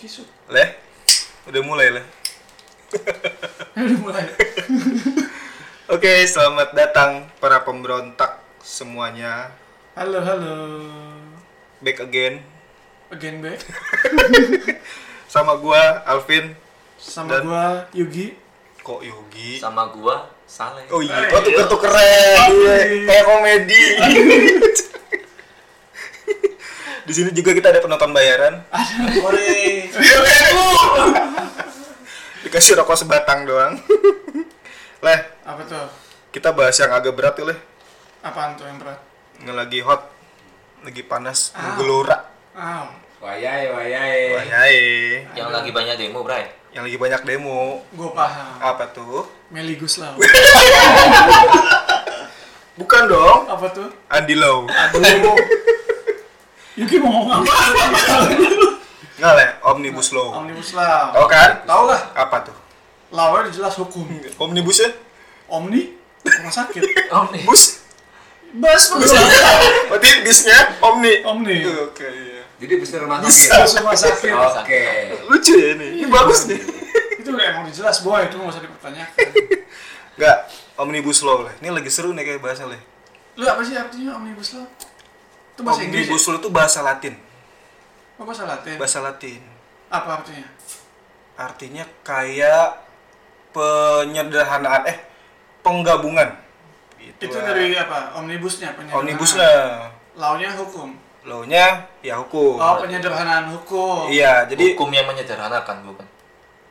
tisu. Leh, udah mulai leh. Udah mulai. Oke, selamat datang para pemberontak semuanya. Halo, halo. Back again Again back sama gua Alvin. sama Dan- gua Yugi. Kok Yogi? sama gua Saleh. Oh iya, oh tuker tukeran kayak komedi. Di sini juga kita ada penonton bayaran. Dikasih rokok sebatang doang. Leh, Apa tuh? kita bahas yang agak berat yuk, Leh. Apaan tuh yang berat? Nge- lagi hot, lagi panas, Ah. menggelora. Aw. Wayai, wayai. Wah, yai. Yang lagi banyak demo, Bray. Yang lagi banyak demo. Gua paham. Apa tuh? Meli Guslau. Bukan dong. Apa tuh? Andi Lau. Yugi mau ngomong apa? Enggak lah, Omnibus Law. Omnibus Law. Tahu kan? Tahu lah. Apa tuh? Law udah jelas hukum. Omnibusnya? Omni rumah sakit. Oh, Omni. Bus? Bus rumah Berarti bisnya Omni. Omni. Oke, iya. Jadi bisa rumah sakit. Bus rumah Iya, Iya. sakit. Oh. Oke. Lucu ya ini. Ini bagus nih. Itu udah emang udah jelas boy, itu nggak usah dipertanyakan. Enggak, Omnibus Law lah. Ini lagi seru nih kayak bahasanya lah. Lu apa sih artinya Omnibus Law? Itu bahasa Inggris. ya? Omnibus Law itu bahasa Latin. Oh, bahasa Latin. Bahasa Latin. Apa artinya? Artinya kayak penyederhanaan eh penggabungan. Gitu Itu lah. dari Ah. apa? Omnibusnya penyederhanaan. Omnibusnya. Launya hukum. Law-nya ya hukum. Oh, penyederhanaan hukum. Iya, jadi Hukum yang menyederhanakan, bukan.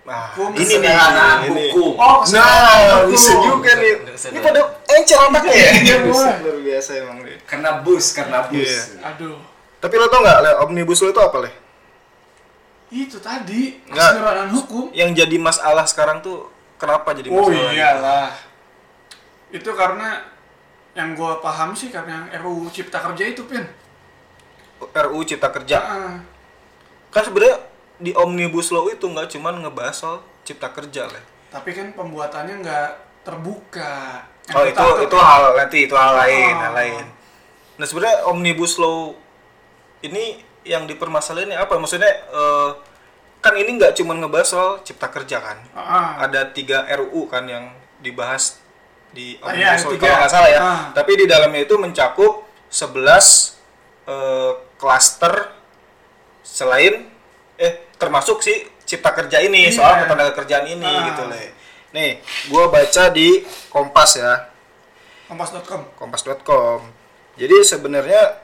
Nah, Hukum ini nih, kesederhanaan ini. hukum. Oh, Nah, kesederhanaan bisa hukum. juga nih. Kesederhanaan. Ini pada encer otaknya ya. Iya, gua. Luar biasa emang deh. Kena bus, kena bus. Iya. Aduh. Tapi lo tau nggak, Le, omnibus lo itu apa leh? Itu tadi Nggak. penyederhanaan hukum. Yang jadi masalah sekarang tuh kenapa jadi Oh masalah? gitu? iyalah. Itu karena yang gua paham sih karena yang RUU Cipta Kerja itu, Pin. RU Cipta Kerja. Heeh. Kan sebenarnya di omnibus law itu nggak cuman ngebahas soal cipta kerja leh. Tapi kan pembuatannya nggak terbuka. Yang Oh gua itu takut itu hal nanti itu hal lain Oh. hal lain. Nah sebenarnya omnibus law ini yang dipermasalahin ya apa? Maksudnya eh, kan ini nggak cuma ngebahas soal cipta kerja kan? Heeh. Ada tiga RUU kan yang dibahas di Ah, iya, omnibus law tiga. kalau nggak salah ya. Ah. Tapi di dalamnya itu mencakup 11 eh, klaster selain eh termasuk si cipta kerja ini Iya. soal ketenaga kerjaan ini Ah. gitu Le. Nih, gua baca di Kompas ya Kompas.com. kompas.com. Jadi sebenarnya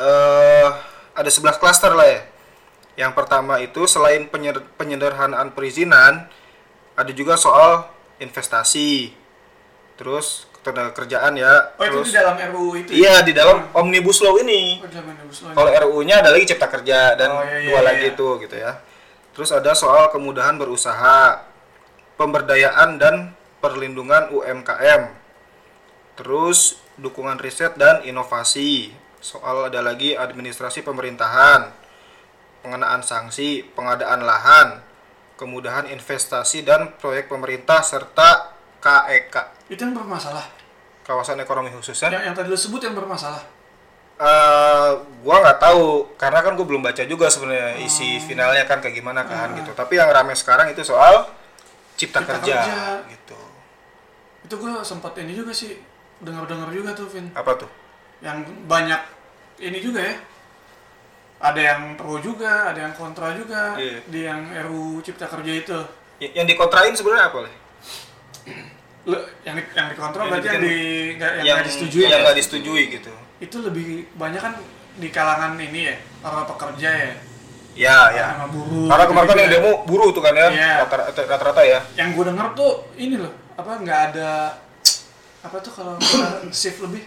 eh ada 11 klaster lah ya. Yang pertama itu selain penyer- penyederhanaan perizinan, ada juga soal investasi. Terus ketenagakerjaan ya. Oh, itu terus di dalam RUU itu. ya? Iya, di dalam Omnibus Law ini. Oh, di dalam Omnibus Law. Kalau RUU-nya ada lagi cipta kerja dan Oh, iya, iya, dua iya. lagi itu gitu ya. Terus ada soal kemudahan berusaha, pemberdayaan dan perlindungan UMKM. Terus dukungan riset dan inovasi. Soal ada lagi administrasi pemerintahan, pengenaan sanksi, pengadaan lahan, kemudahan investasi dan proyek pemerintah serta KEK, Itu yang bermasalah. kawasan ekonomi khusus ya. Yang, yang tadi lu sebut yang bermasalah. eh gua nggak tahu karena kan gua belum baca juga sebenarnya isi Hmm. finalnya kan kayak gimana kan gitu. Tapi yang rame sekarang itu soal cipta, Cipta kerja, kerja. gitu. Itu gue sempat ini juga sih dengar-dengar juga tuh, Vin. Apa tuh? Yang banyak ini juga ya. Ada yang pro juga, ada yang kontra juga Iya. di yang RU Cipta Kerja itu. Y- yang dikontrain sebenarnya apa? Le? Lu- yang di- yang dikontra Yang berarti yang dibikin- di nggak- yang nggak disetujui yang ya? nggak disetujui gitu. Itu lebih banyak kan di kalangan ini ya, para pekerja ya, Ya ya. sama buruh. Karena kemarin kan yang gitu-gitu. demo buruh tuh kan ya Iya. rata- rata-rata ya. Yang gue denger tuh ini loh, apa nggak ada apa tuh kalau kita shift lebih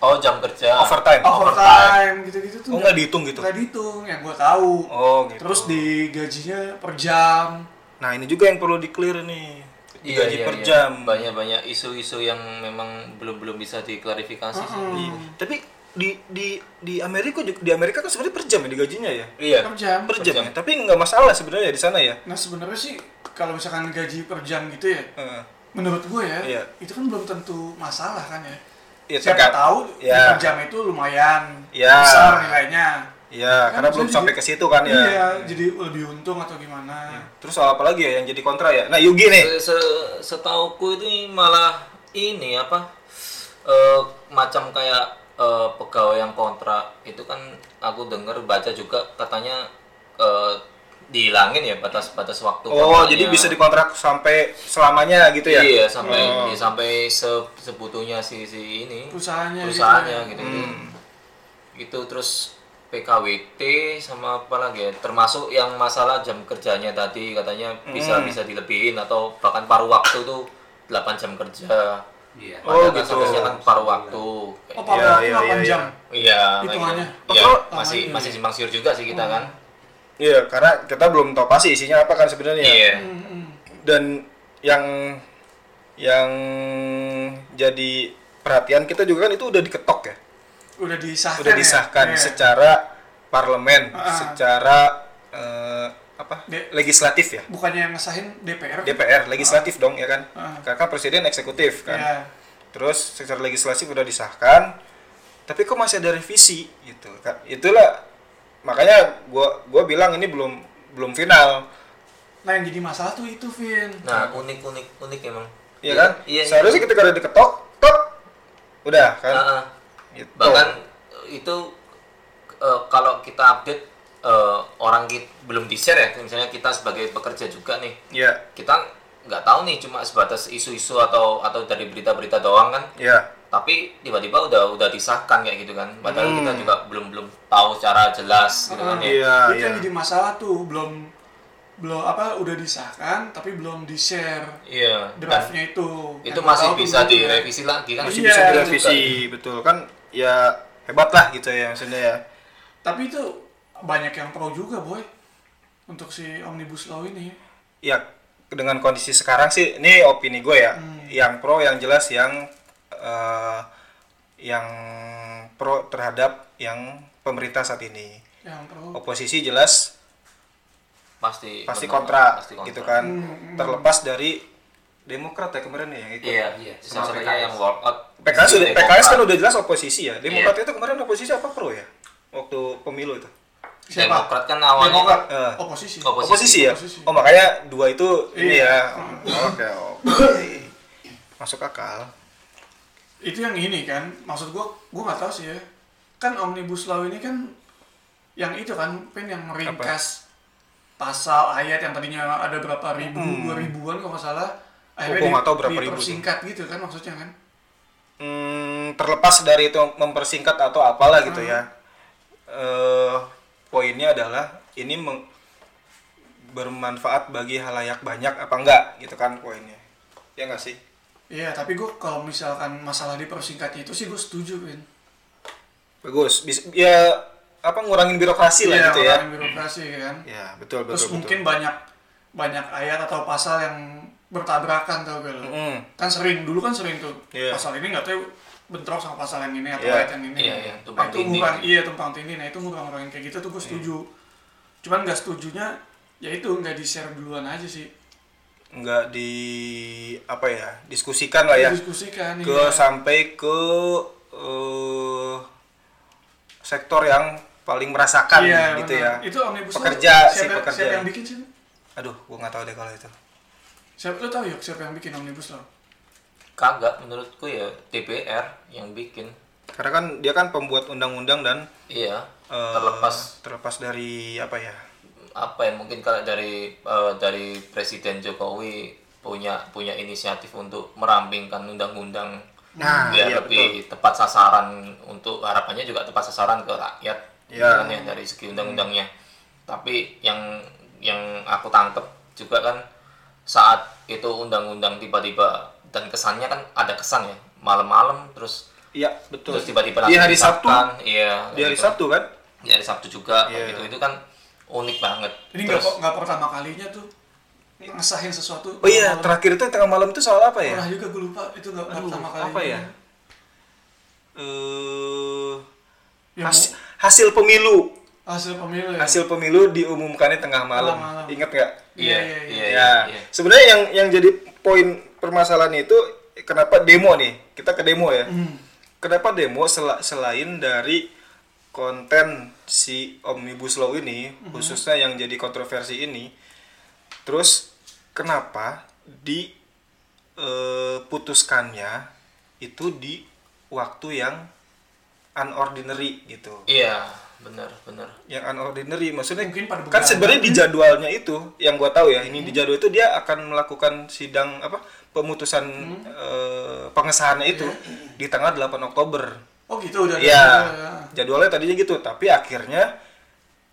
Oh, jam Ah. kerja. Overtime. overtime gitu-gitu tuh Oh nggak dihitung gitu. nggak dihitung yang gue tahu Oh gitu. terus di gajinya per jam Nah ini juga yang perlu di clear nih. Iya, Gaji iya, per iya. jam. Banyak-banyak isu-isu yang memang belum belum bisa diklarifikasi. sih. Iya. Tapi di di di Amerika juga di Amerika kan sebenarnya per jam ya digajinya ya. Iya. per jam per jam ya tapi nggak masalah sebenarnya di sana ya nah sebenarnya sih kalau misalkan gaji per jam gitu ya Heeh. menurut gue ya Iya. itu kan belum tentu masalah kan ya Iya, siapa terkait- tahu di Iya. per jam itu lumayan Iya. besar nilainya Iya, Kan karena belum saya sampai jadi- ke situ kan ya. Iya. Iya, jadi lebih untung atau gimana? Terus apa lagi ya yang jadi kontra ya? Nah, Yugi Iya, nih. Se se- Setauku itu malah ini apa eh, macam kayak eh, pegawai yang kontrak itu kan aku dengar baca juga katanya eh, dihilangin ya batas-batas waktu. Oh, jadi ya. kontraknya. bisa dikontrak sampai selamanya gitu ya? Iya sampai Oh. di- sampai se- sebutuhnya si si ini Perusahaannya gitu perusahaannya ya. gitu. Hmm. Itu terus PKWT sama apa lagi ya? Termasuk yang masalah jam kerjanya tadi katanya bisa bisa dilebihin atau bahkan paruh waktu tuh 8 jam kerja. Iya. Oh, Padahal kan gitu. seharusnya kan paruh waktu. Oh, Kayak- Pak Iya, waktu iya, 8 iya, jam. Iya, kayak Hitungannya. gitu. Iya, Oh, masih tambahin. masih simpang siur juga sih kita kan. Iya, karena kita belum tahu pasti isinya apa kan sebenarnya. Iya. Mm-mm. Dan yang yang jadi perhatian kita juga kan itu udah diketok ya, Udah disahkan. udah disahkan ya? Iya. secara parlemen, Ah. secara eh, apa? De- legislatif ya. Bukannya yang ngesahin DPR? DPR legislatif dong ya kan. Ah. Karena kan presiden eksekutif kan. Iya. terus secara legislasi udah disahkan tapi kok masih ada revisi gitu kan itulah makanya gua gua bilang ini belum belum final Nah, yang jadi masalah tuh itu, Vin. Nah, unik unik unik emang. ya kan Iya. iya. seharusnya ketika udah diketok tok udah kan Ah, ah. gitu. bahkan eh, itu eh, kalau kita update eh, orang kita belum di share ya misalnya kita sebagai pekerja juga nih ya kita nggak tahu nih cuma sebatas isu-isu atau atau dari berita-berita doang kan ya tapi tiba-tiba udah udah disahkan kayak gitu kan padahal Hmm. kita juga belum belum tahu secara jelas gitu kan ya Iya, itu yang iya. jadi masalah tuh belum belum apa udah disahkan tapi belum di share iya dan draftnya itu itu Yang masih tahu tuh bisa gitu ya. direvisi lagi kan Masih masih bisa Iya, direvisi betul kan ya hebat lah gitu ya maksudnya ya tapi itu banyak yang pro juga boy untuk si omnibus law ini ya dengan kondisi sekarang sih ini opini gue ya yang pro yang jelas yang eh, yang pro terhadap yang pemerintah saat ini yang pro oposisi jelas pasti pasti benar, kontra, pasti kontra. gitu kan terlepas dari demokrat ya kemarin ya yang ikut. iya Iya, salah sama satunya PKS. yang workout Iya, PKS sudah Demokrat. Iya. PKS kan udah jelas oposisi ya demokrat itu kemarin oposisi apa pro ya waktu pemilu itu Demokrat kan awalnya Demokrat Eh. oposisi Opo- Oposisi. oposisi ya Oposisi. oh makanya dua itu ini Iya. ya oke oke masuk akal itu yang ini kan maksud gua gua nggak tahu sih ya kan omnibus law ini kan yang itu kan pin yang meringkas pasal ayat yang tadinya ada berapa ribu Hmm. dua ribuan kalau nggak salah Oh, akhirnya gua nggak tahu di- berapa ribu dipersingkat gitu kan maksudnya kan Hmm, terlepas dari itu mempersingkat atau apalah gitu ya. Eh, poinnya adalah ini meng- bermanfaat bagi halayak banyak apa enggak gitu kan poinnya. Ya enggak sih? Iya, tapi gue kalau misalkan masalah dipersingkatnya itu sih gue setuju, Win. Bagus. Bis- ya apa ngurangin birokrasi lah gitu ya. orang Iya, birokrasi kan. Ya, betul betul. Terus betul. mungkin banyak banyak ayat atau pasal yang bertabrakan tau gak lo? Mm. Kan sering dulu kan sering tuh Iya. pasal ini nggak tahu bentrok sama pasal yang ini atau Iya. gitu. ayat yang ini. Iya, iya, Nah, tumpang itu tindih. ngurang, iya tumpang tindih. Nah itu ngurang-ngurangin kayak gitu tuh Iya. gue setuju. Cuman nggak setujunya ya itu nggak di share duluan aja sih. Enggak di apa ya? Diskusikan lah ya. Diskusikan. Ke iya. sampai ke eh, sektor yang paling merasakan Iya, gitu benar. ya. Itu omnibus Law, Pekerja, si siapa, pekerja. siapa yang bikin sih? Aduh, gua nggak tahu deh kalau itu. Siapa lo tau yuk siapa yang bikin omnibus law? kagak menurutku ya DPR yang bikin Karena kan dia kan pembuat undang-undang dan iya eh, terlepas terlepas dari apa ya? apa ya mungkin kalau dari eh, dari Presiden Jokowi punya punya inisiatif untuk merampingkan undang-undang Nah, biar iya, lebih tepat sasaran untuk harapannya juga tepat sasaran ke rakyat Iya. kan ya, dari segi undang-undangnya tapi yang yang aku tangkep juga kan saat itu undang-undang tiba-tiba dan kesannya kan ada kesan ya malam-malam terus Iya, betul. terus tiba-tiba di langsung hari Sabtu, disahkan. iya di hari gitu. Sabtu kan? di hari Sabtu juga Iya. gitu itu kan unik banget Ini nggak kok nggak pertama kalinya tuh ngesahin sesuatu. Oh iya, Malam- terakhir itu tengah malam itu soal apa ya? pernah juga gue lupa itu nggak nggak Aduh, pertama kalinya. apa ya? Eh Ya, has- hasil mau- pemilu, hasil pemilu. Ya? hasil pemilu diumumkannya tengah malam. Tengah malam. Ingat nggak? Iya iya iya. ya. iya. Sebenarnya yang yang jadi poin permasalahan itu kenapa demo nih? Kita ke demo ya. Hmm. Kenapa demo sel- selain dari konten si Omnibus Law ini, Mhm. khususnya yang jadi kontroversi ini, terus kenapa di eh, putuskannya itu di waktu yang unordinary gitu. Iya, benar, benar. Yang unordinary maksudnya Mungkin pada kan beberapa- Mhm. sebenarnya di jadwalnya itu yang gua tahu ya, ini di jadwal itu dia akan melakukan sidang apa pemutusan Mhm. eh, pengesahannya itu di tanggal 8 Oktober. Oh gitu udah. Iya. udah. Jadwalnya tadinya gitu, tapi akhirnya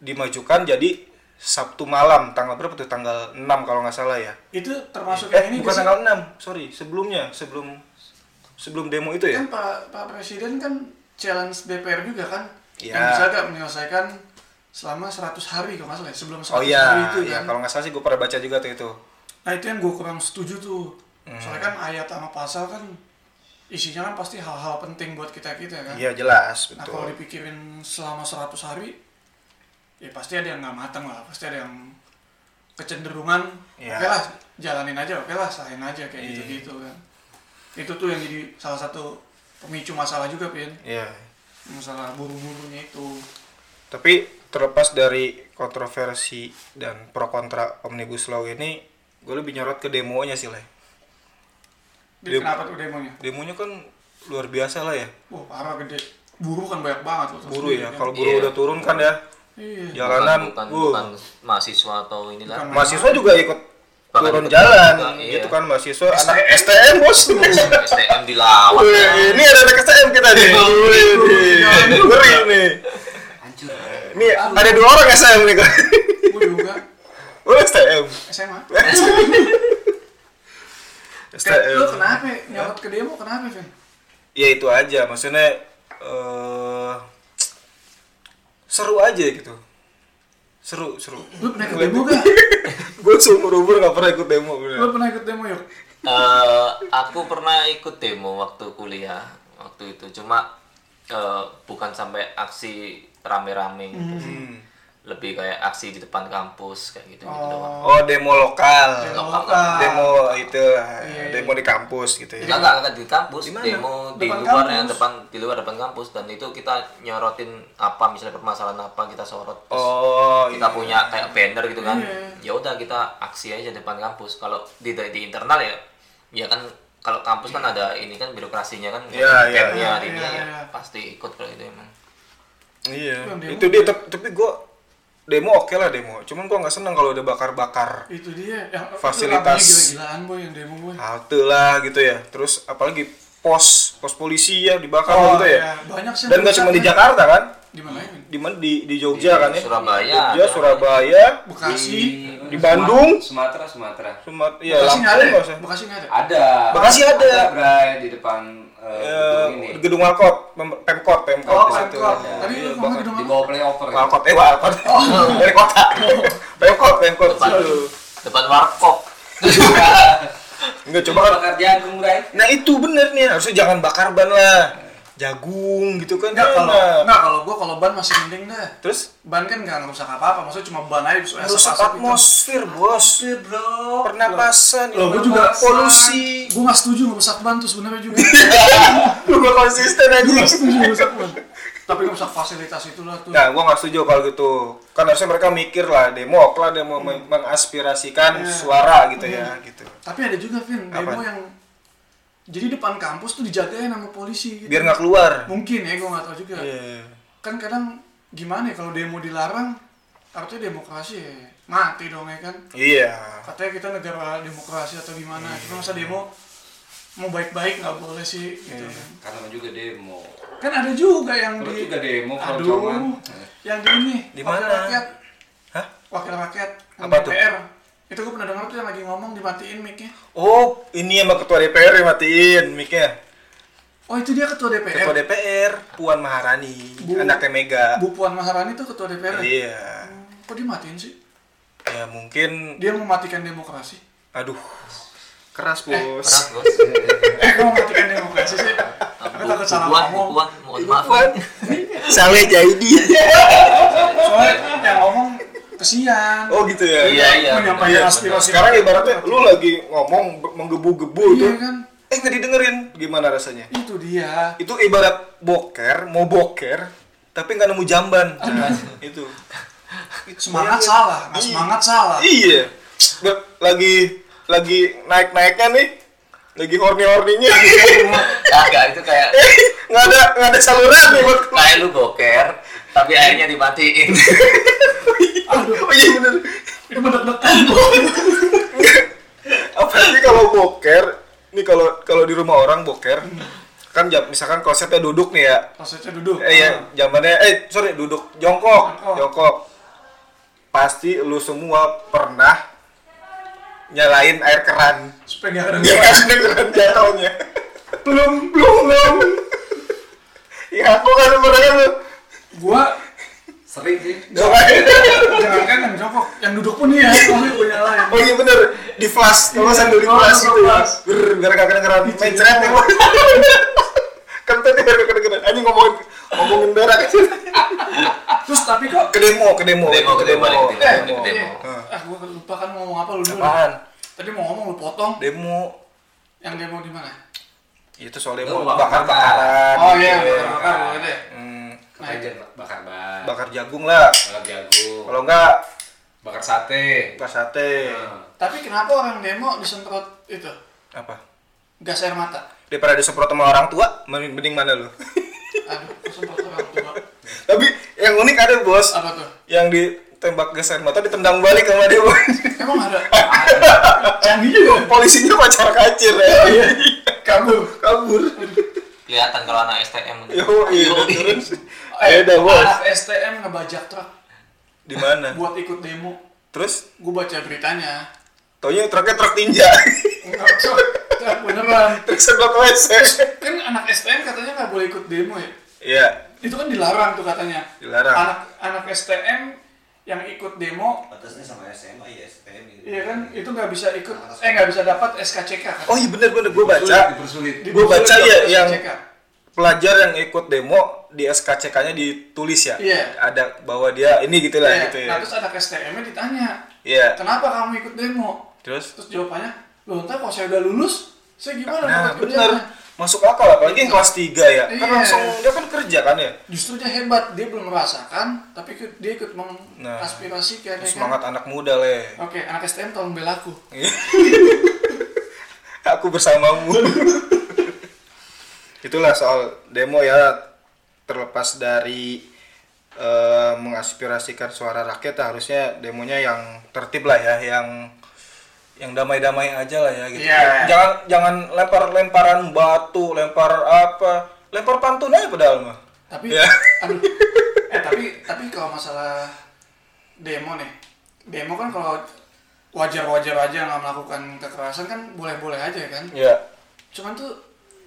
dimajukan jadi Sabtu malam tanggal berapa tuh tanggal 6 kalau nggak salah ya. Itu termasuk yang Eh, ini bukan nggak sih? tanggal 6, sorry, sebelumnya, sebelum sebelum demo itu ya. kan Pak, Pak Presiden kan challenge DPR juga kan Iya. yang bisa nggak menyelesaikan selama 100 hari kalau nggak salah ya, sebelum 100 Oh hari iya, itu iya, kan. kalau nggak salah sih gue pernah baca juga tuh itu. Nah itu yang gue kurang setuju tuh. Hmm. Soalnya kan ayat sama pasal kan isinya kan pasti hal-hal penting buat kita kita kan. Iya jelas, Nah kalau betul. dipikirin selama 100 hari, ya pasti ada yang nggak matang lah, pasti ada yang kecenderungan, Iya. oke lah jalanin aja, oke lah sahin aja kayak gitu-gitu kan. Itu tuh yang jadi salah satu pemicu masalah juga Pin, Iya. masalah buru-burunya itu. Tapi terlepas dari kontroversi dan pro kontra Omnibus Law ini, gue lebih nyorot ke demonya sih, lah. Jadi Dia- kenapa tuh demonya? Demonya kan luar biasa lah ya. Wah parah gede, buruh kan banyak banget loh. terus Buruh sendiri ya, kan. kalau buruh Iya. udah turun kan ya. Iya. Jalanan, uh. bukan, bukan, wuh, bukan mahasiswa atau inilah. Bukan. mahasiswa juga ikut Bahkan turun ikut jalan juga, iya. gitu kan mahasiswa anak STM bos STM dilawan. Wih, ini ada anak STM kita nih Wih, nih. ngeri nih Hancur. ini ada dua orang STM nih kan Gue juga Wih, STM SMA. Kayak, STM Lu kenapa? Nyawat ke demo kenapa Vin? ya itu aja maksudnya eh seru aja gitu seru seru Lu pernah ikut demo gak? gue seumur umur gak pernah ikut demo bener Lu pernah ikut demo yuk? Eh, aku pernah ikut demo waktu kuliah waktu itu cuma eh, bukan sampai aksi rame-rame gitu sih. Hmm. lebih kayak aksi di depan kampus kayak gitu gitu doang oh demo lokal Demo lokal. demo itu Iya, demo di kampus gitu ya Enggak, enggak, enggak, di kampus, Di mana? demo di Depan luar ya, kampus. depan di luar depan kampus dan itu kita nyorotin apa misalnya permasalahan apa kita sorot. Terus oh kita punya kayak banner gitu kan. Iya. Ya udah kita aksi aja depan kampus. Kalau di di internal ya ya kan kalau kampus kan ada ini kan birokrasinya kan Iya, iya, temnya iya. ini Iya, ya iya. pasti ikut kalau itu emang. Iya, Yang demo itu dia. Tapi, tapi gue demo oke lah demo. Cuman gue nggak seneng kalau udah bakar-bakar itu dia Eh, yang itu Fasilitas. ramenya gila-gilaan boy yang demo boy halte lah gitu ya. Terus apalagi pos pos polisi ya dibakar Oh, gitu ya. Iya, banyak sih Dan nggak cuma di Jakarta kan? di mana ya, Vin? Di mana di di Iya, Jogja Di kan ya? Surabaya Jogja, ada. Surabaya, Bekasi Di Bandung? Sumatera, Sumatera. Sumat, ya Bekasi nggak Lampung ada nggak usah. Bekasi nggak ada Ada. Bekasi ada. Bray, di depan eh, Eh, gedung ini. gedung Walkot, Pem- Pemkot, Pemkot oh di Pemkot situ. tadi Iya, lu ngomong bakar- gedung Di apa bawah playover. kan? Walkot, eh Walkot, dari kota, Pemkot, Pemkot. Depan situ. depan warkop. Nggak coba kan Bakar jagung, Bray. Nah itu bener nih harusnya jangan bakar ban lah. Jagung gitu kan nggak kalau enak. nggak kalau gua kalau ban masih mending dah Terus ban kan nggak ngerusak apa apa maksudnya cuma ban aja terus asap-asap rusak gitu. atmosfer bos. Shit, bro Pernapasan, Loh, ilmu gua juga polusi. gua nggak setuju ngerusak ban tuh sebenarnya juga Lu gak konsisten gua nggak aja. setuju ngerusak ban tapi ngerusak fasilitas itulah tuh Nah, gua nggak setuju kalau gitu. Kan harusnya mereka mikir lah, demo lah, demo meng- mengaspirasikan Iya. suara gitu ya, gitu. tapi ada juga Vin demo Apa? yang jadi depan kampus tuh dijagain sama polisi gitu. Biar nggak keluar. mungkin ya gue nggak tahu juga Iya. kan kadang gimana ya kalau demo dilarang artinya demokrasi ya mati dong ya kan Iya. katanya kita negara demokrasi atau gimana cuma masa demo mau baik-baik nggak boleh sih gitu Iya. kan. Karena juga demo. kan ada juga yang Terus di juga demo aduh keroncongan. yang di ini Di wakil mana? rakyat Hah? wakil rakyat yang Apa tuh? DPR. itu gue pernah dengar tuh yang lagi ngomong dimatiin mic-nya Oh, ini sama ketua DPR yang matiin mic-nya. oh itu dia ketua DPR Ketua DPR Puan Maharani, Bu- anaknya Mega. Bu Puan Maharani tuh ketua DPR ya? Iya. kok dimatiin sih Ya mungkin dia mematikan demokrasi aduh. Keras, Bos. Berat, Bos. eh kok mematikan demokrasi sih aku takut salah Bukuan, ngomong bukuan, mohon Iya, maaf. kan? Saleh Jaidi. soalnya yang ngomong kesian Oh gitu ya. Iya, iya. menyampaikan benar, aspirasi Sekarang ibaratnya lu lagi ngomong be- menggebu-gebu itu. iya kan Eh nggak didengerin. Gimana rasanya? itu dia Itu ibarat boker, mau boker, tapi nggak nemu jamban nah, itu Semangat salah, nggak Iya. semangat salah. iya Ber- lagi lagi naik naiknya nih lagi horny horninya Agak itu kayak nggak ada nggak ada saluran nih buat kayak lu boker tapi airnya dimatiin. oh iya bener Itu bener-bener apa sih kalau boker ini kalau kalau di rumah orang boker kan jam misalkan klosetnya duduk nih ya Prosesnya duduk. eh ya zamannya eh sorry duduk jongkok Jongkok. jongkok pasti lu semua pernah nyalain air keran Supaya nggak ada Iya kan kedengeran jatuhnya. belum belum belum. ya aku kan pernah lu. Gua Sering sih. jangan kan yang jongkok, yang duduk pun iya, soalnya gue nyalain. Oh iya bener di flash, kalau Iya, sambil di kalau flash sambil itu ya. flash. Brr, gara-gara kedengeran mencret ya. Kan tadi gara kedengeran. Anjing ngomongin ngomongin berak. Terus tapi kok Ke demo, ke demo. Demo, ke demo, balik ke demo, Demo. ke demo. Ah, gua lupa kan mau ngomong apa lu dulu. Apaan? Tadi mau ngomong lu potong. Demo. Ya, Yang demo di mana? Itu soal Lu demo bakar- bakar-bakaran. Gitu. Oh iya, bakar-bakar gua deh. Hmm, Nah, Kerja bakar ban, bakar jagung lah. bakar jagung, Kalau enggak bakar sate. bakar sate. Hmm. Nah, Tapi kenapa orang demo disemprot itu? Apa? Gas air mata. daripada disemprot sama orang tua mending mending mana lu Aduh, disemprot orang tua. tapi yang unik ada bos Apa tuh? yang ditembak gas air mata ditendang balik sama dia bos Emang ada? Canggih juga. polisinya pacar kacir ya Iya. Kabur. kabur Kelihatan kalau anak STM. yo iya udah turun Eh, ayo dah Ya bos Anak STM ngebajak truk di mana buat ikut demo. terus Gue baca beritanya. taunya truknya truk tinja Enggak, Cok. Truk beneran. truk sebelah wc Kan anak STM katanya nggak boleh ikut demo ya? iya Itu kan dilarang tuh katanya. Dilarang. Anak anak STM yang ikut Nah. demo, batasnya sama SMA ya STM gitu. ya kan, itu nggak bisa ikut, eh nggak bisa dapat SKCK kan? oh iya bener bener gue baca sulit dipersulit. Di- gua baca di- ya, di- yang- SKCK. pelajar yang ikut demo di SKCK-nya ditulis ya Iya. ada bahwa dia ini gitulah Iya. gitu ya Nah terus anak STM-nya ditanya, iya kenapa kamu ikut demo? terus Terus jawabannya, loh ntar kalau saya udah lulus, saya gimana Nah, dapat bener. kerjanya?" Masuk akal apalagi yang kelas 3 ya. Iya. Kan langsung dia kan kerja kan ya. Justru dia hebat, dia belum merasakan, tapi ikut- dia ikut Nah, mengaspirasikan. ya kan? Semangat anak muda, Le. Oke, anak STM tolong bela aku. Aku bersamamu. Itulah soal demo ya terlepas dari eh, mengaspirasikan suara rakyat ya, harusnya demonya yang tertib lah ya, yang yang damai-damai aja lah ya gitu. Iya. Jangan jangan lempar-lemparan batu, lempar apa, lempar pantun aja padahal mah. Tapi, Ya. aduh, eh tapi tapi kalau masalah demo nih, demo kan kalau wajar-wajar aja nggak melakukan kekerasan kan boleh-boleh aja kan. Ya. Cuman tuh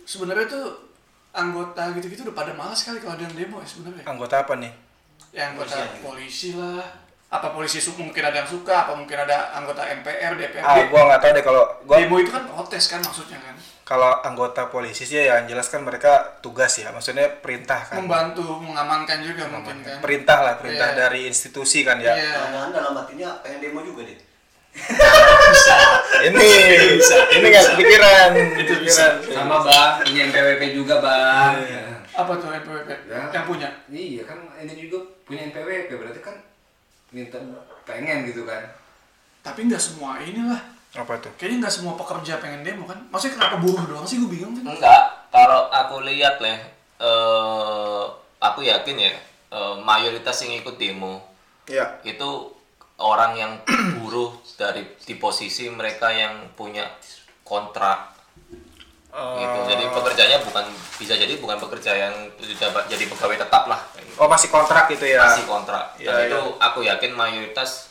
sebenarnya tuh anggota gitu-gitu udah pada malas kali kalau ada yang demo ya sebenarnya. Anggota apa nih? yang anggota polisi lah apa polisi su- mungkin ada yang suka apa mungkin ada anggota MPR Ah, DPRD gua nggak tahu deh kalau gua demo itu kan protes kan maksudnya kan kalau anggota polisi sih ya yang jelas kan mereka tugas ya, maksudnya perintah kan. membantu mengamankan juga mungkin kan Perintah lah, Iya. perintah dari institusi kan ya. iya Jangan dalam hatinya pengen demo juga deh. Ini ini nggak kepikiran. Kepikiran. Sama bang, ini NPWP juga bang. apa tuh MPWP Ya. yang punya Iya kan ini juga punya NPWP berarti kan minta pengen gitu kan. tapi nggak semua inilah Apa tuh? kayaknya nggak semua pekerja pengen demo kan maksudnya kenapa buruh doang sih gue bingung Oh, kan Enggak, kalau aku lihat leh, eh, aku yakin ya eh, mayoritas yang ikut demo Iya. Ya. itu orang yang buruh dari di posisi mereka yang punya kontrak Oh. gitu. Jadi pekerjanya bukan bisa jadi bukan pekerja yang sudah jadi pegawai tetap lah. Oh masih kontrak gitu ya. Masih kontrak. Dan Iya, itu aku yakin mayoritas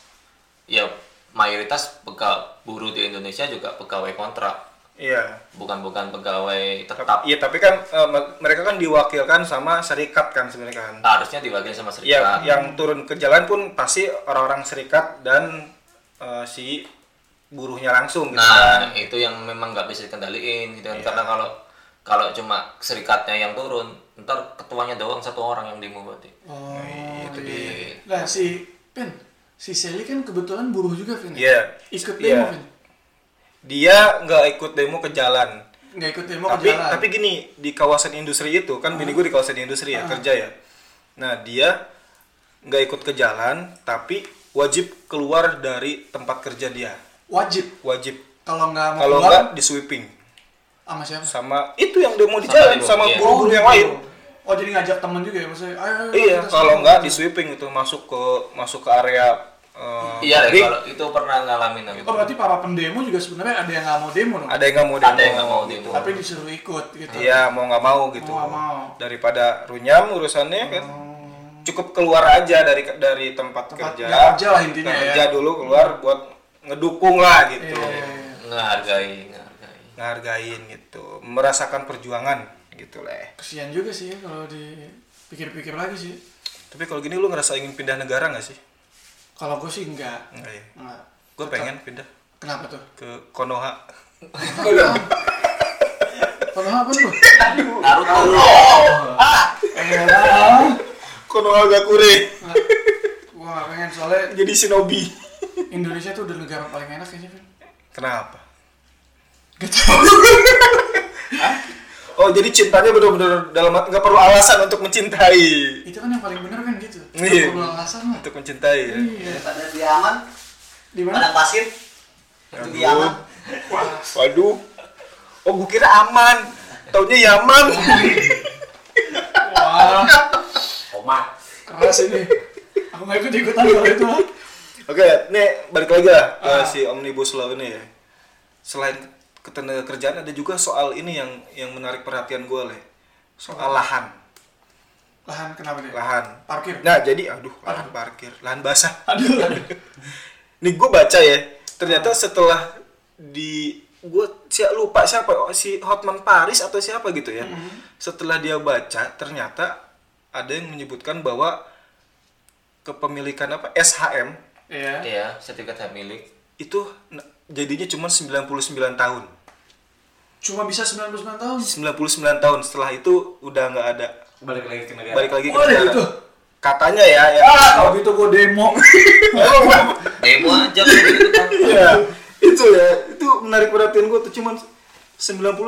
ya mayoritas pega, buruh di Indonesia juga pegawai kontrak, Iya. bukan bukan pegawai tetap. Tapi- Iya tapi kan eh, me- mereka kan diwakilkan sama serikat kan sebenarnya kan. Harusnya diwakili sama serikat. Ya, yang turun ke jalan pun pasti orang-orang serikat dan eh, si buruhnya langsung gitu kan. Nah, itu yang memang nggak bisa dikendaliin gitu kan. Karena kalau kalau cuma serikatnya yang turun, ntar ketuanya doang satu orang yang demo berarti. oh itu iya. dia. nah si Pin si Sally kan kebetulan buruh juga Pin ya? Iya. ikut demo Iya. Pin Dia nggak ikut demo ke jalan. nggak ikut demo tapi ke jalan Ah. tapi gini di kawasan industri itu kan bini gue di kawasan industri ya kerja ya Nah dia nggak ikut ke jalan, tapi wajib keluar dari tempat kerja dia. Wajib. Wajib. Kalau nggak mau Kalau keluar, nggak di sweeping sama siapa? sama itu yang demo di jalan demo, sama iya. guru-guru yang gitu. lain. Oh jadi ngajak temen juga ya maksudnya? Ayo, ayo, Iya, kita kalau semua. nggak di sweeping itu masuk ke masuk ke area eh, Iya, deh, ring. kalau itu pernah ngalamin aku. Oh berarti para pendemo juga sebenarnya ada yang nggak mau demo dong? ada yang nggak mau demo, Ada yang nggak mau demo. Tapi disuruh ikut gitu. Iya, mau nggak mau gitu. Mau nggak mau. Hmm. Daripada runyam urusannya kan. Cukup keluar aja dari dari tempat, Tempat kerja. kerja lah intinya ya. Kerja dulu keluar buat ngedukung lah gitu. Iya, iya, iya. Ngehargai, ngehargai. Ngehargain gitu, merasakan perjuangan gitu leh. Kesian juga sih ya kalau dipikir-pikir lagi sih. Tapi kalau gini lu ngerasa ingin pindah negara nggak sih? Kalau gue sih enggak. Enggak ya. Enggak. Gue pengen pindah Kenapa tuh? ke Konoha. Kalau apa lu? Naruto. Ah. Eh, Konoha Gakure. gue gak pengen soalnya Jadi shinobi. Indonesia tuh udah negara paling enak kayaknya kan. Kenapa? Gak tau. Oh, jadi cintanya benar-benar dalam hati- nggak perlu alasan untuk mencintai. Itu kan yang paling bener kan gitu. Iya. Gak perlu alasan lah. Untuk mencintai. ya. Iya. Daripada di aman, Di mana? padang pasir. Itu di aman. Waduh. Oh, gue kira aman. Taunya Yaman. Wah, Oma. keras ini. Aku gak ikut ikutan kalau itu. Oke, nih balik lagi lah ke si Omnibus Law ini ya. Selain ketenaga kerjaan ada juga soal ini yang yang menarik perhatian gue leh. Soal lahan. Lahan kenapa deh? Lahan. Parkir. Nah, jadi aduh, lahan parkir, lahan basah. Aduh, aduh. Nih gue baca ya, ternyata setelah di gue siap lupa siapa oh, si Hotman Paris atau siapa gitu ya. Setelah dia baca ternyata ada yang menyebutkan bahwa kepemilikan apa SHM Iya. Iya, sertifikat hak milik. itu n- jadinya cuma 99 tahun. Cuma bisa 99 tahun. 99 tahun setelah itu udah nggak ada Balik lagi ke negara. balik lagi ke Oh, ada negara. gitu? Katanya ya, ya. Ah, kalau gitu gue demo. Demo aja kalau gitu kan. Iya, itu ya, itu menarik perhatian gue tuh cuman 99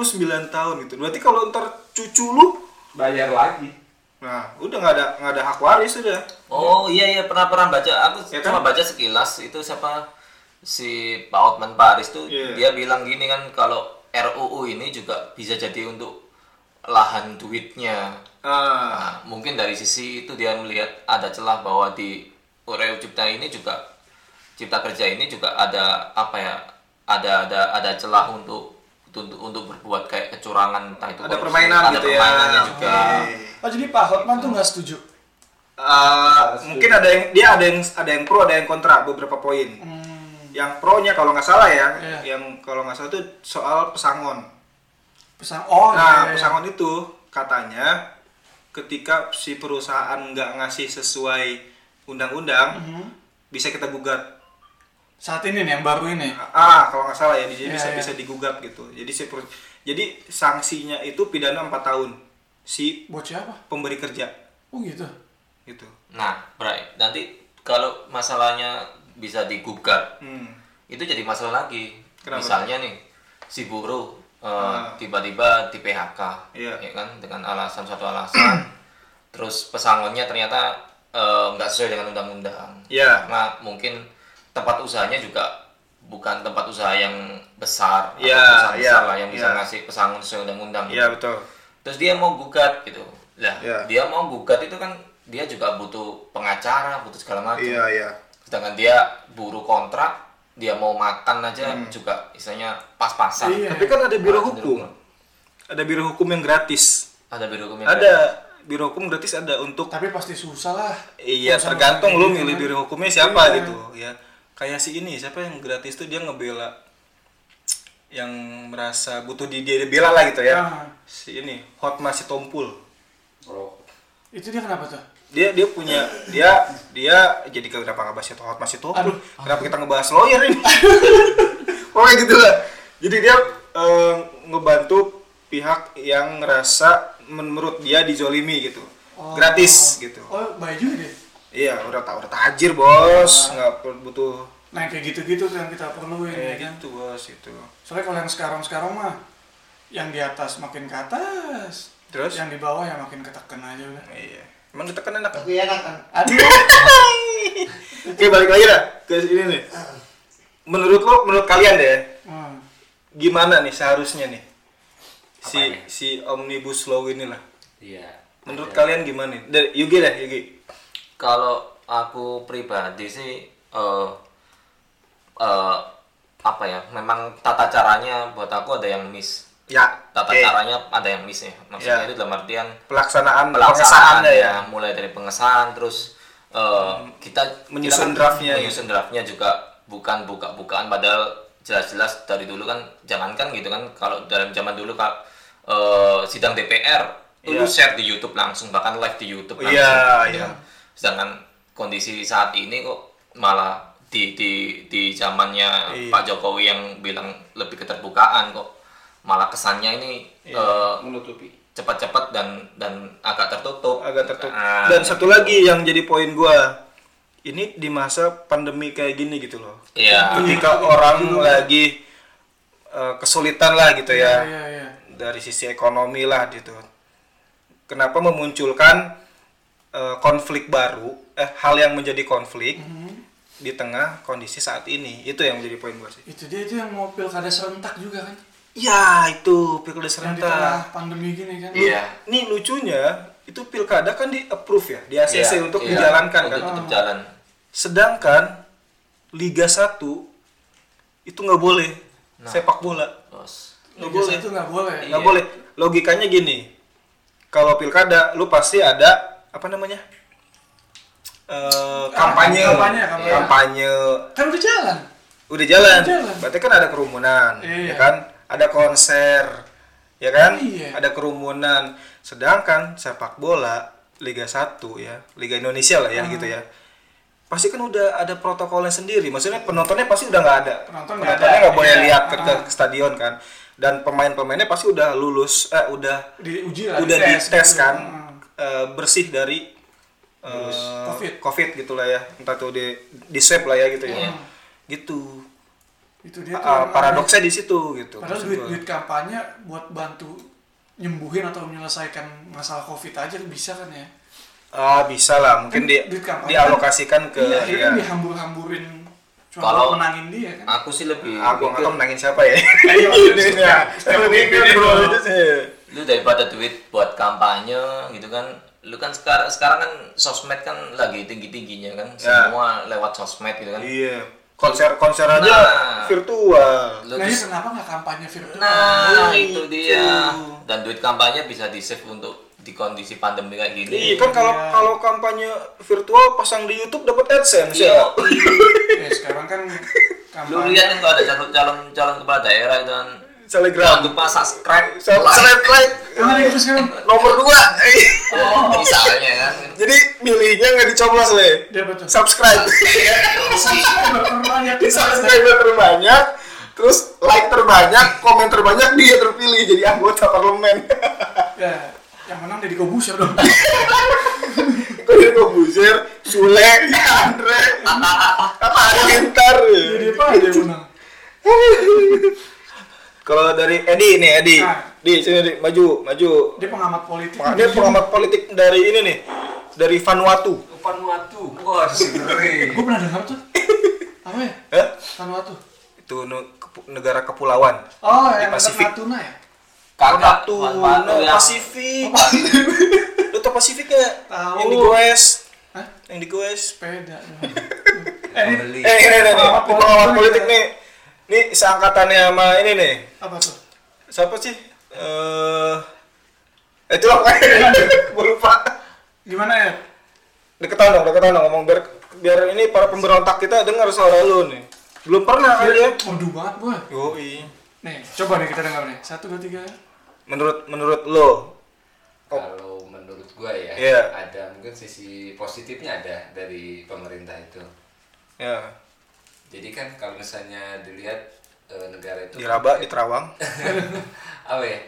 tahun gitu. Berarti kalau ntar cucu lu, Bayar lagi. nah udah nggak ada nggak ada hak waris udah. Oh iya iya pernah pernah baca. Aku Ya cuma kan? baca sekilas itu siapa si Pak Otman Paris tuh Iya. dia bilang gini kan kalau RUU ini juga bisa jadi untuk lahan duitnya. Ah, Nah, mungkin dari sisi itu dia melihat ada celah bahwa di UU Cipta ini juga Cipta Kerja ini juga ada apa ya? Ada ada ada celah untuk untuk untuk berbuat kayak kecurangan entah itu Ada korupsi, permainan ada gitu ya. permainannya juga. Oh, jadi Pak Hotman tuh gak setuju. Ah, mungkin ada yang dia ada yang ada yang pro ada yang kontra beberapa poin. Hmm. Yang pro-nya kalau nggak salah ya, Iya. yang kalau nggak salah itu soal pesangon. Pesan oh, iya, Nah, iya. pesangon itu katanya ketika si perusahaan nggak ngasih sesuai undang-undang, Mhm. bisa kita gugat. saat ini nih yang baru ini. Ah, kalau nggak salah ya, jadi Iya, bisa iya. bisa digugat gitu. Jadi si per- jadi sanksinya itu pidana 4 tahun si Buat siapa? pemberi kerja Oh gitu. gitu. Nah, berarti nanti kalau masalahnya bisa digugat Hmm. itu jadi masalah lagi. Kenapa? Misalnya nih si buruh eh, Ah. tiba-tiba di PHK, Iya. ya kan dengan alasan suatu alasan. Terus pesangonnya ternyata eh, nggak sesuai dengan undang-undang. Iya. Karena mungkin tempat usahanya juga bukan tempat usaha yang besar, atau Iya, perusahaan iya, besar lah yang bisa iya. ngasih pesangon sesuai undang-undang. Iya, betul. Terus dia mau gugat gitu. Lah, Iya. dia mau gugat itu kan dia juga butuh pengacara, butuh segala macam Iya, iya. sedangkan dia buru kontrak dia mau makan aja Hmm. juga istilahnya pas-pasan Iya. Tapi kan ada biro Malah hukum. cenderung. Ada biro hukum yang gratis. ada biro hukum yang Ada biro hukum gratis ada untuk Tapi pasti susah lah. iya Urusan orang tergantung lu kayak milih gitu kan. biro hukumnya siapa Iya. gitu ya. Kayak si ini siapa yang gratis tuh dia ngebela yang merasa butuh di dia dibela lah gitu ya. Ah. Si ini Hotma si Tompul. Bro. Itu dia kenapa tuh? dia dia punya dia dia jadi kenapa ngebahas itu hotmas itu Aduh. kenapa kita ngebahas lawyer ini pokoknya gitu lah jadi dia eh, ngebantu pihak yang ngerasa menurut dia dizolimi gitu Oh. gratis gitu Oh, baik juga deh. iya udah tau udah Ah. tajir bos nggak perlu butuh Nah, kayak gitu-gitu tuh yang kita perluin ya kayak kan. gitu bos itu Soalnya kalau yang sekarang-sekarang mah yang di atas makin ke atas, terus Iya. yang di bawah ya makin ketekan aja udah. iya Emang kita kan enak kan? Tapi enak kan. Aduh, Oke balik lagi dah ke ini nih. Menurut lo, menurut kalian deh, hmm. gimana nih seharusnya nih si Apanya? si omnibus law ini lah. Iya. Menurut kalian gimana? nih? Dari Yugi deh Yugi. Kalau aku pribadi sih eh eh, apa ya? Memang tata caranya buat aku ada yang miss. Ya. Tata oke. caranya ada yang miss ya. Ya. Maksudnya itu dalam artian Pelaksanaan pengesaannya pelaksanaannya ya. mulai dari pengesahan terus eh, kita menyusun kita kan draftnya ya. menyusun draftnya juga bukan buka-bukaan padahal jelas-jelas dari dulu kan jangankan gitu kan kalau dalam zaman dulu kak eh, sidang DPR dulu Iya. share di YouTube langsung bahkan live di YouTube langsung Iya, gitu iya. kan. sedangkan kondisi saat ini kok malah di di di zamannya Iya. Pak Jokowi yang bilang lebih keterbukaan kok malah kesannya ini Iya. eh, Menutupi. cepat-cepat dan dan agak tertutup agak tertutup. Ah, Dan satu lagi yang jadi poin gua, ini di masa pandemi kayak gini gitu loh. iya Ketika orang lagi eh, kesulitan lah gitu iya, ya, iya, iya. dari sisi ekonomi lah gitu. Kenapa memunculkan eh, konflik baru, eh hal yang menjadi konflik di tengah kondisi saat ini? Itu yang menjadi poin gua sih. Itu dia itu yang mau pilkada serentak juga kan? Ya itu pilkada Yang di tengah serentak. pandemi gini kan? iya Nih lucunya itu pilkada kan di approve ya, di ACC Iya, untuk iya. dijalankan kan. untuk tetap jalan Sedangkan Liga 1 itu nggak boleh sepak bola. terus Nggak Liga boleh. satu nggak boleh. Nggak Iya. boleh. Logikanya gini. Kalau pilkada lu pasti ada apa namanya? Eh, kampanye. kampanye, kampanye. Kampanye. Kan udah jalan. Udah jalan. Udah jalan. Berarti kan ada kerumunan, Iya. ya kan? Ada konser, ya kan? Iya. Ada kerumunan. Sedangkan sepak bola Liga 1 ya, Liga Indonesia lah Hmm. ya gitu ya. Pasti kan udah ada protokolnya sendiri. Maksudnya penontonnya pasti udah nggak ada. Penonton nggak Penontonnya ada, nggak boleh iya. lihat ke, ke Ah. stadion kan. Dan pemain-pemainnya pasti udah lulus, eh udah Diuji lah. udah dites dites gitu. kan Hmm. eh, bersih dari eh, Covid. Hmm. covid gitu lah ya entah tuh di di swab lah ya gitu ya Iya. gitu Itu dia tuh. Ah, yang paradoksnya di situ gitu aneh. Padahal maksud duit gua. duit kampanye buat bantu nyembuhin atau menyelesaikan masalah covid aja bisa kan ya? ah bisa lah mungkin di, duit kampanye dialokasikan ke iya, akhirnya ya, dihambur-hamburin cuma buat Kalau- menangin dia Ah, kan? aku sih lebih aku nggak tahu mikir, menangin siapa ya Iya, Ya, setiap lebih pemimpin ke- itu. itu sih. lu daripada duit buat kampanye gitu kan lu kan sekarang sekarang kan sosmed kan lagi tinggi tingginya kan Ya. semua lewat sosmed gitu kan iya konser konser aja Nah. virtual lu Nah, dis- iya, kenapa nggak kampanye virtual? nah Nah, itu itu. dia dan duit kampanye bisa di save untuk di kondisi pandemi kayak Iya gini kan kalau Iya. kalau kampanye virtual pasang di YouTube dapat AdSense Iya. ya. ya sekarang kan lu kampanye lihat itu ada calon calon calon kepala daerah itu kan jangan Telegram. lupa subscribe like, Selebgram. Emang ada gitu sekarang? Nomor 2. misalnya kan Jadi milihnya nggak dicoblos le. Dia betul. Subscribe. Subscriber terbanyak. Subscribe terbanyak. Terus like terbanyak, komen terbanyak dia terpilih jadi anggota parlemen. Ya, yang menang Deddy Kobuser dong. Kau jadi Kobuzer, Sule, Andre, apa ada pintar. Jadi apa aja yang menang? Kalau dari Edi nih Edi, Ah. di sini Di, maju maju. Dia pengamat politik. Dia pengamat politik dari ini nih, dari Vanuatu. Vanuatu. Wah, sebenernya. Gue pernah dengar tuh. Apa ya? Hah? Vanuatu. Eh? Itu nu- kepu- negara kepulauan. Oh, Di yang dekat Pasifik. Natuna ya? kagak ya. Batu, Vanuatu yang Pasifik. Lu tau Pasifik gak? Tahu. Yang digoes. Hah? Yang digoes. Sepeda. Eh, Beli. ini nih, nih, Pengamat Ini politik pengamat nih. politik nih. Nih seangkatannya sama ini nih. Apa tuh? Siapa sih? Eh, itu lah pokoknya. Gua lupa. Gimana ya? Deketan dong, deketan dong ngomong biar biar ini para pemberontak kita dengar suara lu nih. Belum pernah kali ya. Waduh banget gue. Yoi. Nih, coba nih kita dengar nih. Satu, dua, tiga. Menurut menurut lo, Kalau menurut gua ya, Iya. ada mungkin sisi positifnya ada dari pemerintah itu. ya Jadi kan kalau misalnya dilihat eh, negara itu di Rabak, di Terawang. apa ya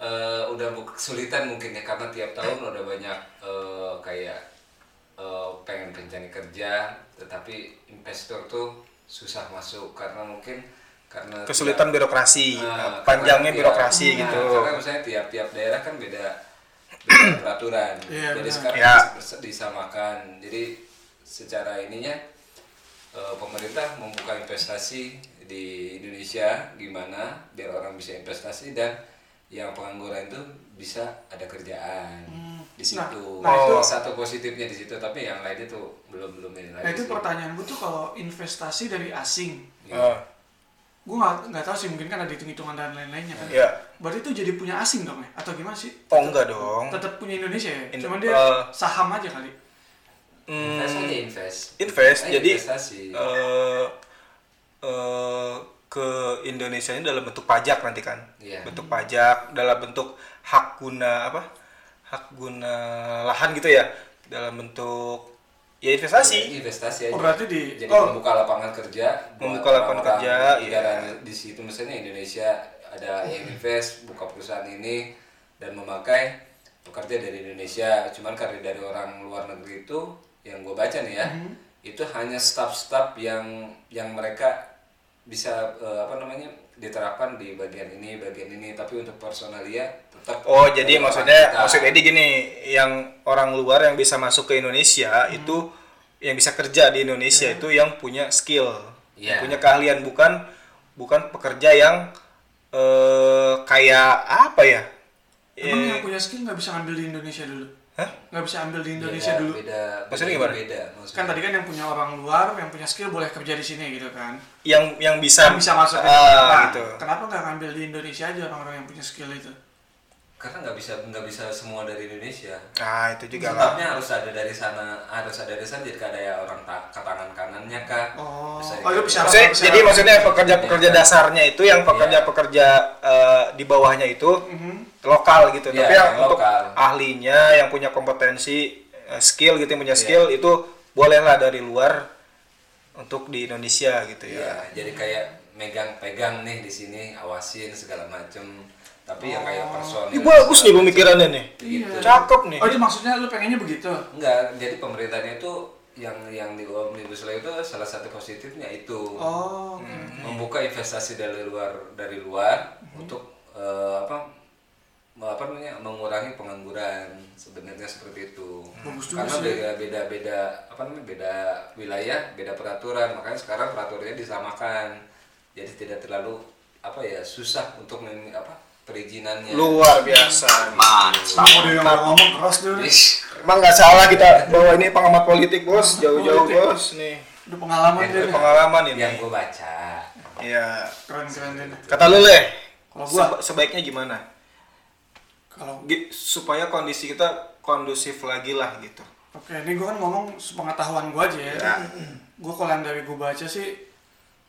eh, udah bu- kesulitan mungkin ya karena tiap tahun udah banyak eh, kayak eh, pengen rencana kerja tetapi investor tuh susah masuk karena mungkin karena Kesulitan tiap- birokrasi, Nah, Iya, panjangnya karena tiap- birokrasi nah, gitu. karena misalnya tiap-tiap daerah kan beda dengan peraturan. Iya, Jadi benar. sekarang Iya. dis- disamakan. Jadi secara ininya eh, pemerintah membuka investasi di Indonesia gimana biar orang bisa investasi dan yang pengangguran itu bisa ada kerjaan di situ. Nah, nah itu- Salah satu positifnya di situ, tapi yang lainnya tuh belum belum ini Nah lagi itu sih. pertanyaan gue tuh kalau investasi dari asing, Ah, gue nggak nggak tahu sih mungkin kan ada hitung-hitungan dan lain-lainnya kan. Iya. Berarti itu jadi punya asing dong ya? Atau gimana sih? Oh enggak dong. Tetap punya Indonesia ya? In- Cuman dia eh, saham aja kali. Hmm, Invest aja invest. invest Ayo jadi investasi. eh, eh, ke Indonesia ini dalam bentuk pajak nanti kan Iya. bentuk pajak dalam bentuk hak guna apa hak guna lahan gitu ya dalam bentuk ya investasi investasi aja. Oh berarti di jadi oh, membuka lapangan kerja buat Membuka lapangan orang-orang kerja, negara iya. di situ misalnya Indonesia ada yang invest buka perusahaan ini dan memakai pekerja dari Indonesia cuman karena dari orang luar negeri itu yang gue baca nih ya Mm-hmm. itu hanya staff-staff yang yang mereka bisa eh, apa namanya diterapkan di bagian ini bagian ini tapi untuk personalia tetap oh jadi orang maksudnya kita. maksud Edi gini yang orang luar yang bisa masuk ke Indonesia Hmm. itu yang bisa kerja di Indonesia itu yang punya skill Iya. yang punya keahlian bukan bukan pekerja yang eh kayak apa ya emang Eh, yang punya skill nggak bisa ambil di Indonesia dulu? Hah? Nggak bisa ambil di Beda- Indonesia dulu? Iya, beda Maksudnya beda- gimana? beda maksudnya. Kan tadi kan yang punya orang luar, yang punya skill boleh kerja di sini gitu kan? yang yang bisa Yang bisa masuk ah, ke Nah, gitu Kenapa nggak ngambil di Indonesia aja orang-orang yang punya skill itu? karena nggak bisa nggak bisa semua dari Indonesia ah Iya. itu juga lah sebabnya harus ada dari sana harus ada dari sana jadi kayak orang ta- ke tangan kanannya kak Oh. Bisa Oh, itu dikatakan. bisa. maksudnya, jadi maksudnya pekerja-pekerja dasarnya itu yang pekerja-pekerja eh, di bawahnya itu Mhm. lokal gitu Iya, tapi yang yang untuk lokal. ahlinya yang punya kompetensi eh, skill gitu yang punya skill itu bolehlah dari luar untuk di Indonesia gitu Iya, ya jadi kayak megang-pegang nih di sini awasin segala macem tapi yang kayak personil Iya, ini bagus nih pemikirannya nih Gitu. cakep nih Oh, itu maksudnya lu pengennya begitu? Iya. enggak jadi pemerintahnya itu yang yang di omnibus law itu salah satu positifnya itu Hmm. Oh, oke. Hmm. membuka investasi dari luar dari luar untuk eh, apa apa namanya mengurangi pengangguran sebenarnya seperti itu Hmm. Bagus juga karena sih. beda beda beda apa namanya beda wilayah beda peraturan makanya sekarang peraturannya disamakan jadi tidak terlalu apa ya susah untuk men- apa perizinannya iya. luar biasa mantap Sama dia yang ngomong keras dulu. Iya. Ish, emang nggak salah kita bawa ini pengamat politik bos jauh-jauh Politik. bos nih Udah pengalaman dia. Yang nih. Iya, pengalaman ini yang gue baca Iya. Keren-keren dia. nih. Kata lu leh, Kalau gua- seba- sebaiknya gimana? Kalau Gi- supaya kondisi kita kondusif lagi lah gitu. Oke, ini gue kan ngomong sepengetahuan gue aja ya. Gue kalau yang dari gue baca sih,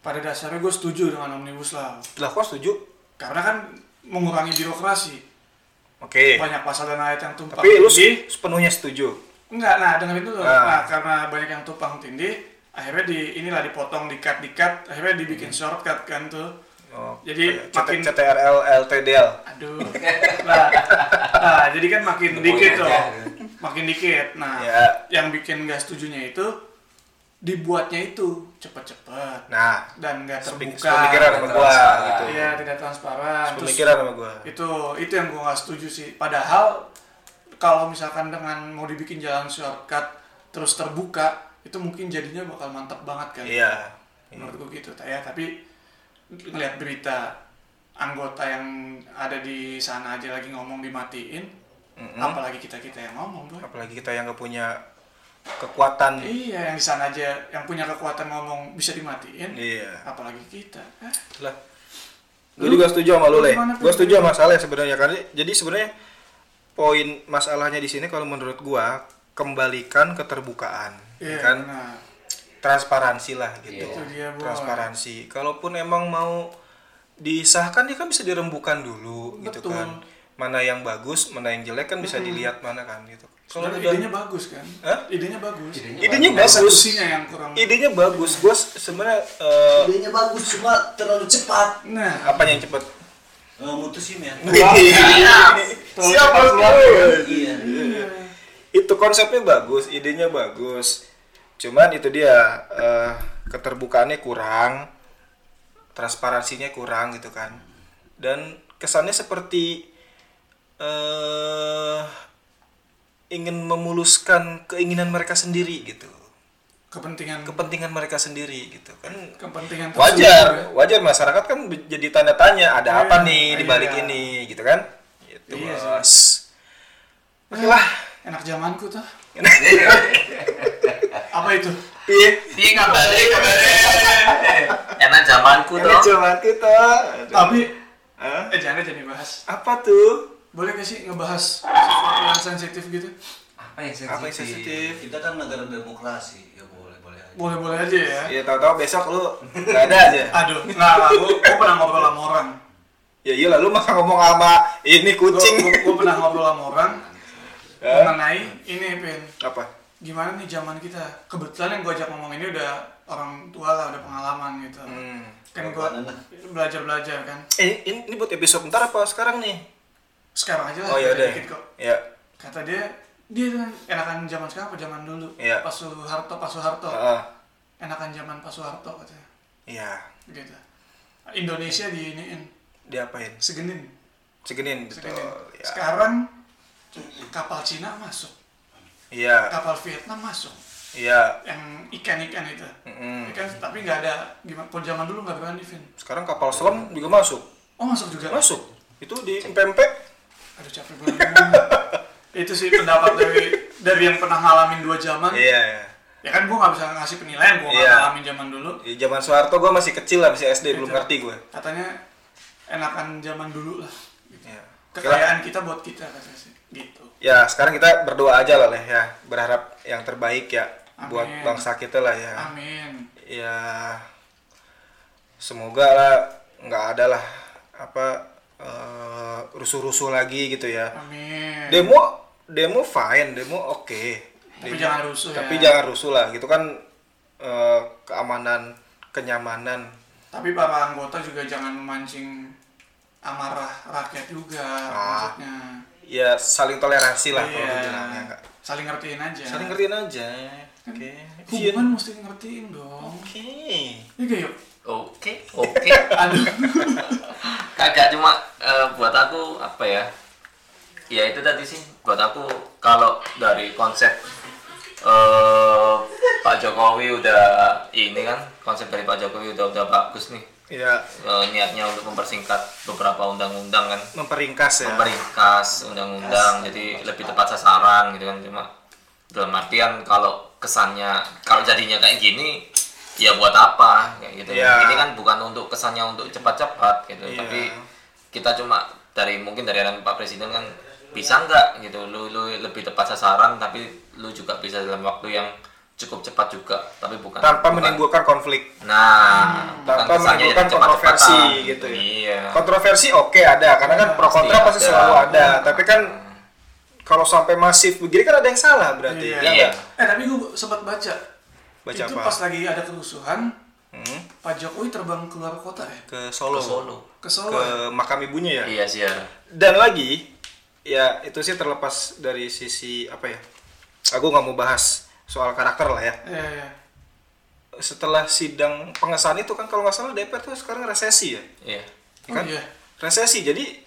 pada dasarnya gue setuju dengan Omnibus Law. Lah kok setuju? Karena kan mengurangi birokrasi. Oke. Banyak pasal dan ayat yang tumpang Eh. Tapi tindih. lu se- sepenuhnya setuju. Enggak, nah dengerin dulu. Ah. Nah, karena banyak yang tumpang tindih, akhirnya di inilah dipotong, dikat, dikat, akhirnya dibikin Hmm. shortcut kan tuh. Oh, Jadi, CT- makin- CTRL LTDL. Aduh. Nah, nah, jadi kan makin Nemuin dikit aja. loh. Makin dikit. Nah, Ya. yang bikin nggak setujunya itu dibuatnya itu cepet-cepet Nah, dan nggak sepik- terbuka. sepemikiran sama gua Transparan. gitu. Iya, tidak transparan. Terus Sepemikiran sama gua. itu itu yang gua nggak setuju sih. Padahal kalau misalkan dengan mau dibikin jalan shortcut terus terbuka, itu mungkin jadinya bakal mantap banget kan Iya. menurut gue gitu ya tapi ngelihat berita anggota yang ada di sana aja lagi ngomong dimatiin apalagi kita kita yang ngomong boy Iya. Apalagi kita yang nggak punya kekuatan. iya yang di sana aja yang punya kekuatan ngomong bisa dimatiin Iya. apalagi kita Eh, Lah. Gue juga setuju sama lu, lu Le. gimana, Gue Pin? setuju sama Saleh sebenarnya karena jadi sebenarnya poin masalahnya di sini kalau menurut gua kembalikan keterbukaan, ya iya kan? benar. transparansi lah gitu. Itu dia, Boy. transparansi. Kalaupun emang mau disahkan dia kan bisa dirembukan dulu gitu Betul. Hmm. kan. Mana yang bagus, mana yang jelek kan bisa dilihat mana kan gitu. Kalau Sebenarnya udah- idenya bagus kan Hah? idenya bagus idenya bagus. eksekusinya yang kurang Idenya bagus. Gue sebenarnya eh, Idenya bagus cuma terlalu cepat nah apanya yang cepet? eh, mutusinnya. Siapa lu? Iya. Itu konsepnya bagus, idenya bagus. Cuman itu dia eh, keterbukaannya kurang, transparansinya kurang gitu kan. Dan kesannya seperti eh ingin memuluskan keinginan mereka sendiri gitu kepentingan kepentingan mereka sendiri gitu kan kepentingan wajar wajar masyarakat kan be- jadi tanda tanya ada apa Iya, nih di balik iya. ini gitu kan itu Iya sih. Ah. bos oke lah enak zamanku tuh apa itu Iya nggak balik, nggak balik. Enak zamanku tuh. cuman kita tapi Hah? eh jangan jadi bahas apa tuh boleh gak sih ngebahas sesuatu yang sensitif gitu apa yang sensitif? apa yang sensitif Kita kan negara demokrasi, ya boleh-boleh aja. boleh boleh aja ya ya tahu-tahu besok lu nggak ada aja aduh nggak lah gue pernah ngobrol sama orang ya iyalah lu mah ngomong sama ini kucing gue pernah ngobrol sama orang Hah? mengenai ini pin apa gimana nih zaman kita kebetulan yang gue ajak ngomong ini udah orang tua lah udah pengalaman gitu Hmm. kan gue belajar belajar kan eh ini, ini buat episode bentar apa sekarang nih sekarang aja lah oh ya udah Ah, dikit kok ya kata dia dia kan enakan zaman sekarang apa zaman dulu Iya. pas Soeharto pas Soeharto Heeh. enakan zaman pas Soeharto katanya iya gitu Indonesia di iniin diapain segenin segenin betul segenin ya sekarang kapal Cina masuk iya kapal Vietnam masuk iya Hmm. yang ikan-ikan itu Mm-mm. ikan tapi nggak ada gimana kalau zaman dulu nggak berani Vin sekarang kapal selam juga masuk oh masuk juga masuk itu di MPMP aduh capek banget itu sih pendapat dari dari yang pernah ngalamin dua zaman iya ya kan gua nggak bisa ngasih penilaian gua nggak Iya. ngalamin zaman dulu di zaman Soeharto gue masih kecil lah masih SD belum Itu. ngerti gue katanya enakan zaman dulu lah gitu. Iya. kekayaan kita buat kita katanya sih gitu ya sekarang kita berdoa aja lah leh ya berharap yang terbaik ya buat Amin. bangsa kita lah ya amin ya semoga lah nggak ada lah apa eh, rusuh-rusuh lagi gitu ya amin demo demo fine demo oke tapi Demo- jangan rusuh tapi ya jangan rusuh lah gitu kan eh, keamanan kenyamanan tapi para anggota juga jangan memancing amarah rakyat juga maksudnya ya saling toleransi lah Ah. kalau Iya. dibilang ya nggak? saling ngertiin aja saling ngertiin aja oke Iya. hubungan mesti ngertiin dong oke Iya gak, yuk Oke, oke. aduh Kagak cuma eh, buat aku apa ya? Ya itu tadi sih buat aku kalau dari konsep eh Pak Jokowi udah ini kan konsep dari Pak Jokowi udah udah bagus nih ya Eh, niatnya untuk mempersingkat beberapa undang-undang kan memperingkas ya memperingkas undang-undang jadi lebih tepat sasaran gitu kan cuma dalam artian kalau kesannya kalau jadinya kayak gini ya buat apa kayak gitu Iya. ini kan bukan untuk kesannya untuk cepat-cepat gitu Iya. tapi kita cuma dari mungkin dari arahan Pak Presiden kan bisa nggak gitu lu lu lebih tepat sasaran tapi lu juga bisa dalam waktu yang cukup cepat juga tapi bukan tanpa bukan- menimbulkan konflik nah bukan tanpa menimbulkan kesannya jadi cepat-cepatan kontroversi gitu ya. iya Kontroversi oke ada karena kan pro kontra Pasti pasti ada. Iya. selalu ada, tapi kan kalau sampai masif begini kan ada yang salah berarti. Iya. ya Iya. nggak? eh tapi gue sempat baca Baca itu apa? pas lagi ada kerusuhan Hmm, Pak Jokowi terbang keluar kota ya ke Solo. Solo ke Solo Ke ya? makam ibunya ya. iya sih ya Dan lagi ya itu sih terlepas dari sisi apa ya? Aku nggak mau bahas soal karakter lah ya. Iya, iya. Setelah sidang pengesahan itu kan kalau nggak salah DPR tuh sekarang resesi ya. iya Oh ya kan? iya. Resesi. Jadi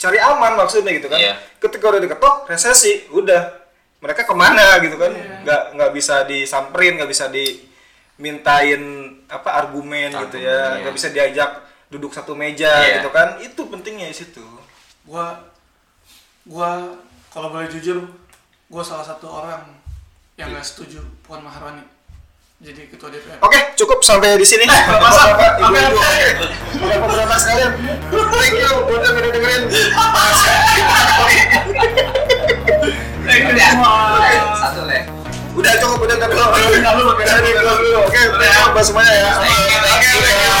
cari aman maksudnya gitu kan. Iya. Ketika udah diketok resesi, udah mereka kemana gitu kan? Nggak nggak bisa disamperin, nggak bisa dimintain apa argumen gitu ya, Argumen, iya. nggak bisa diajak duduk satu meja Iya. gitu kan? Itu pentingnya di situ. gua gua kalau boleh jujur gua salah satu orang yang Iya. gak setuju Puan Maharani jadi ketua DPR Oke, cukup sampai di sini. Bapak-bapak, ibu-ibu. Bapak-bapak sekalian, thank you udah dengerin. satu leh Udah cukup udah tapi lo. Udah dulu, udah dulu. Oke, udah semuanya ya. Oke, oke, oke.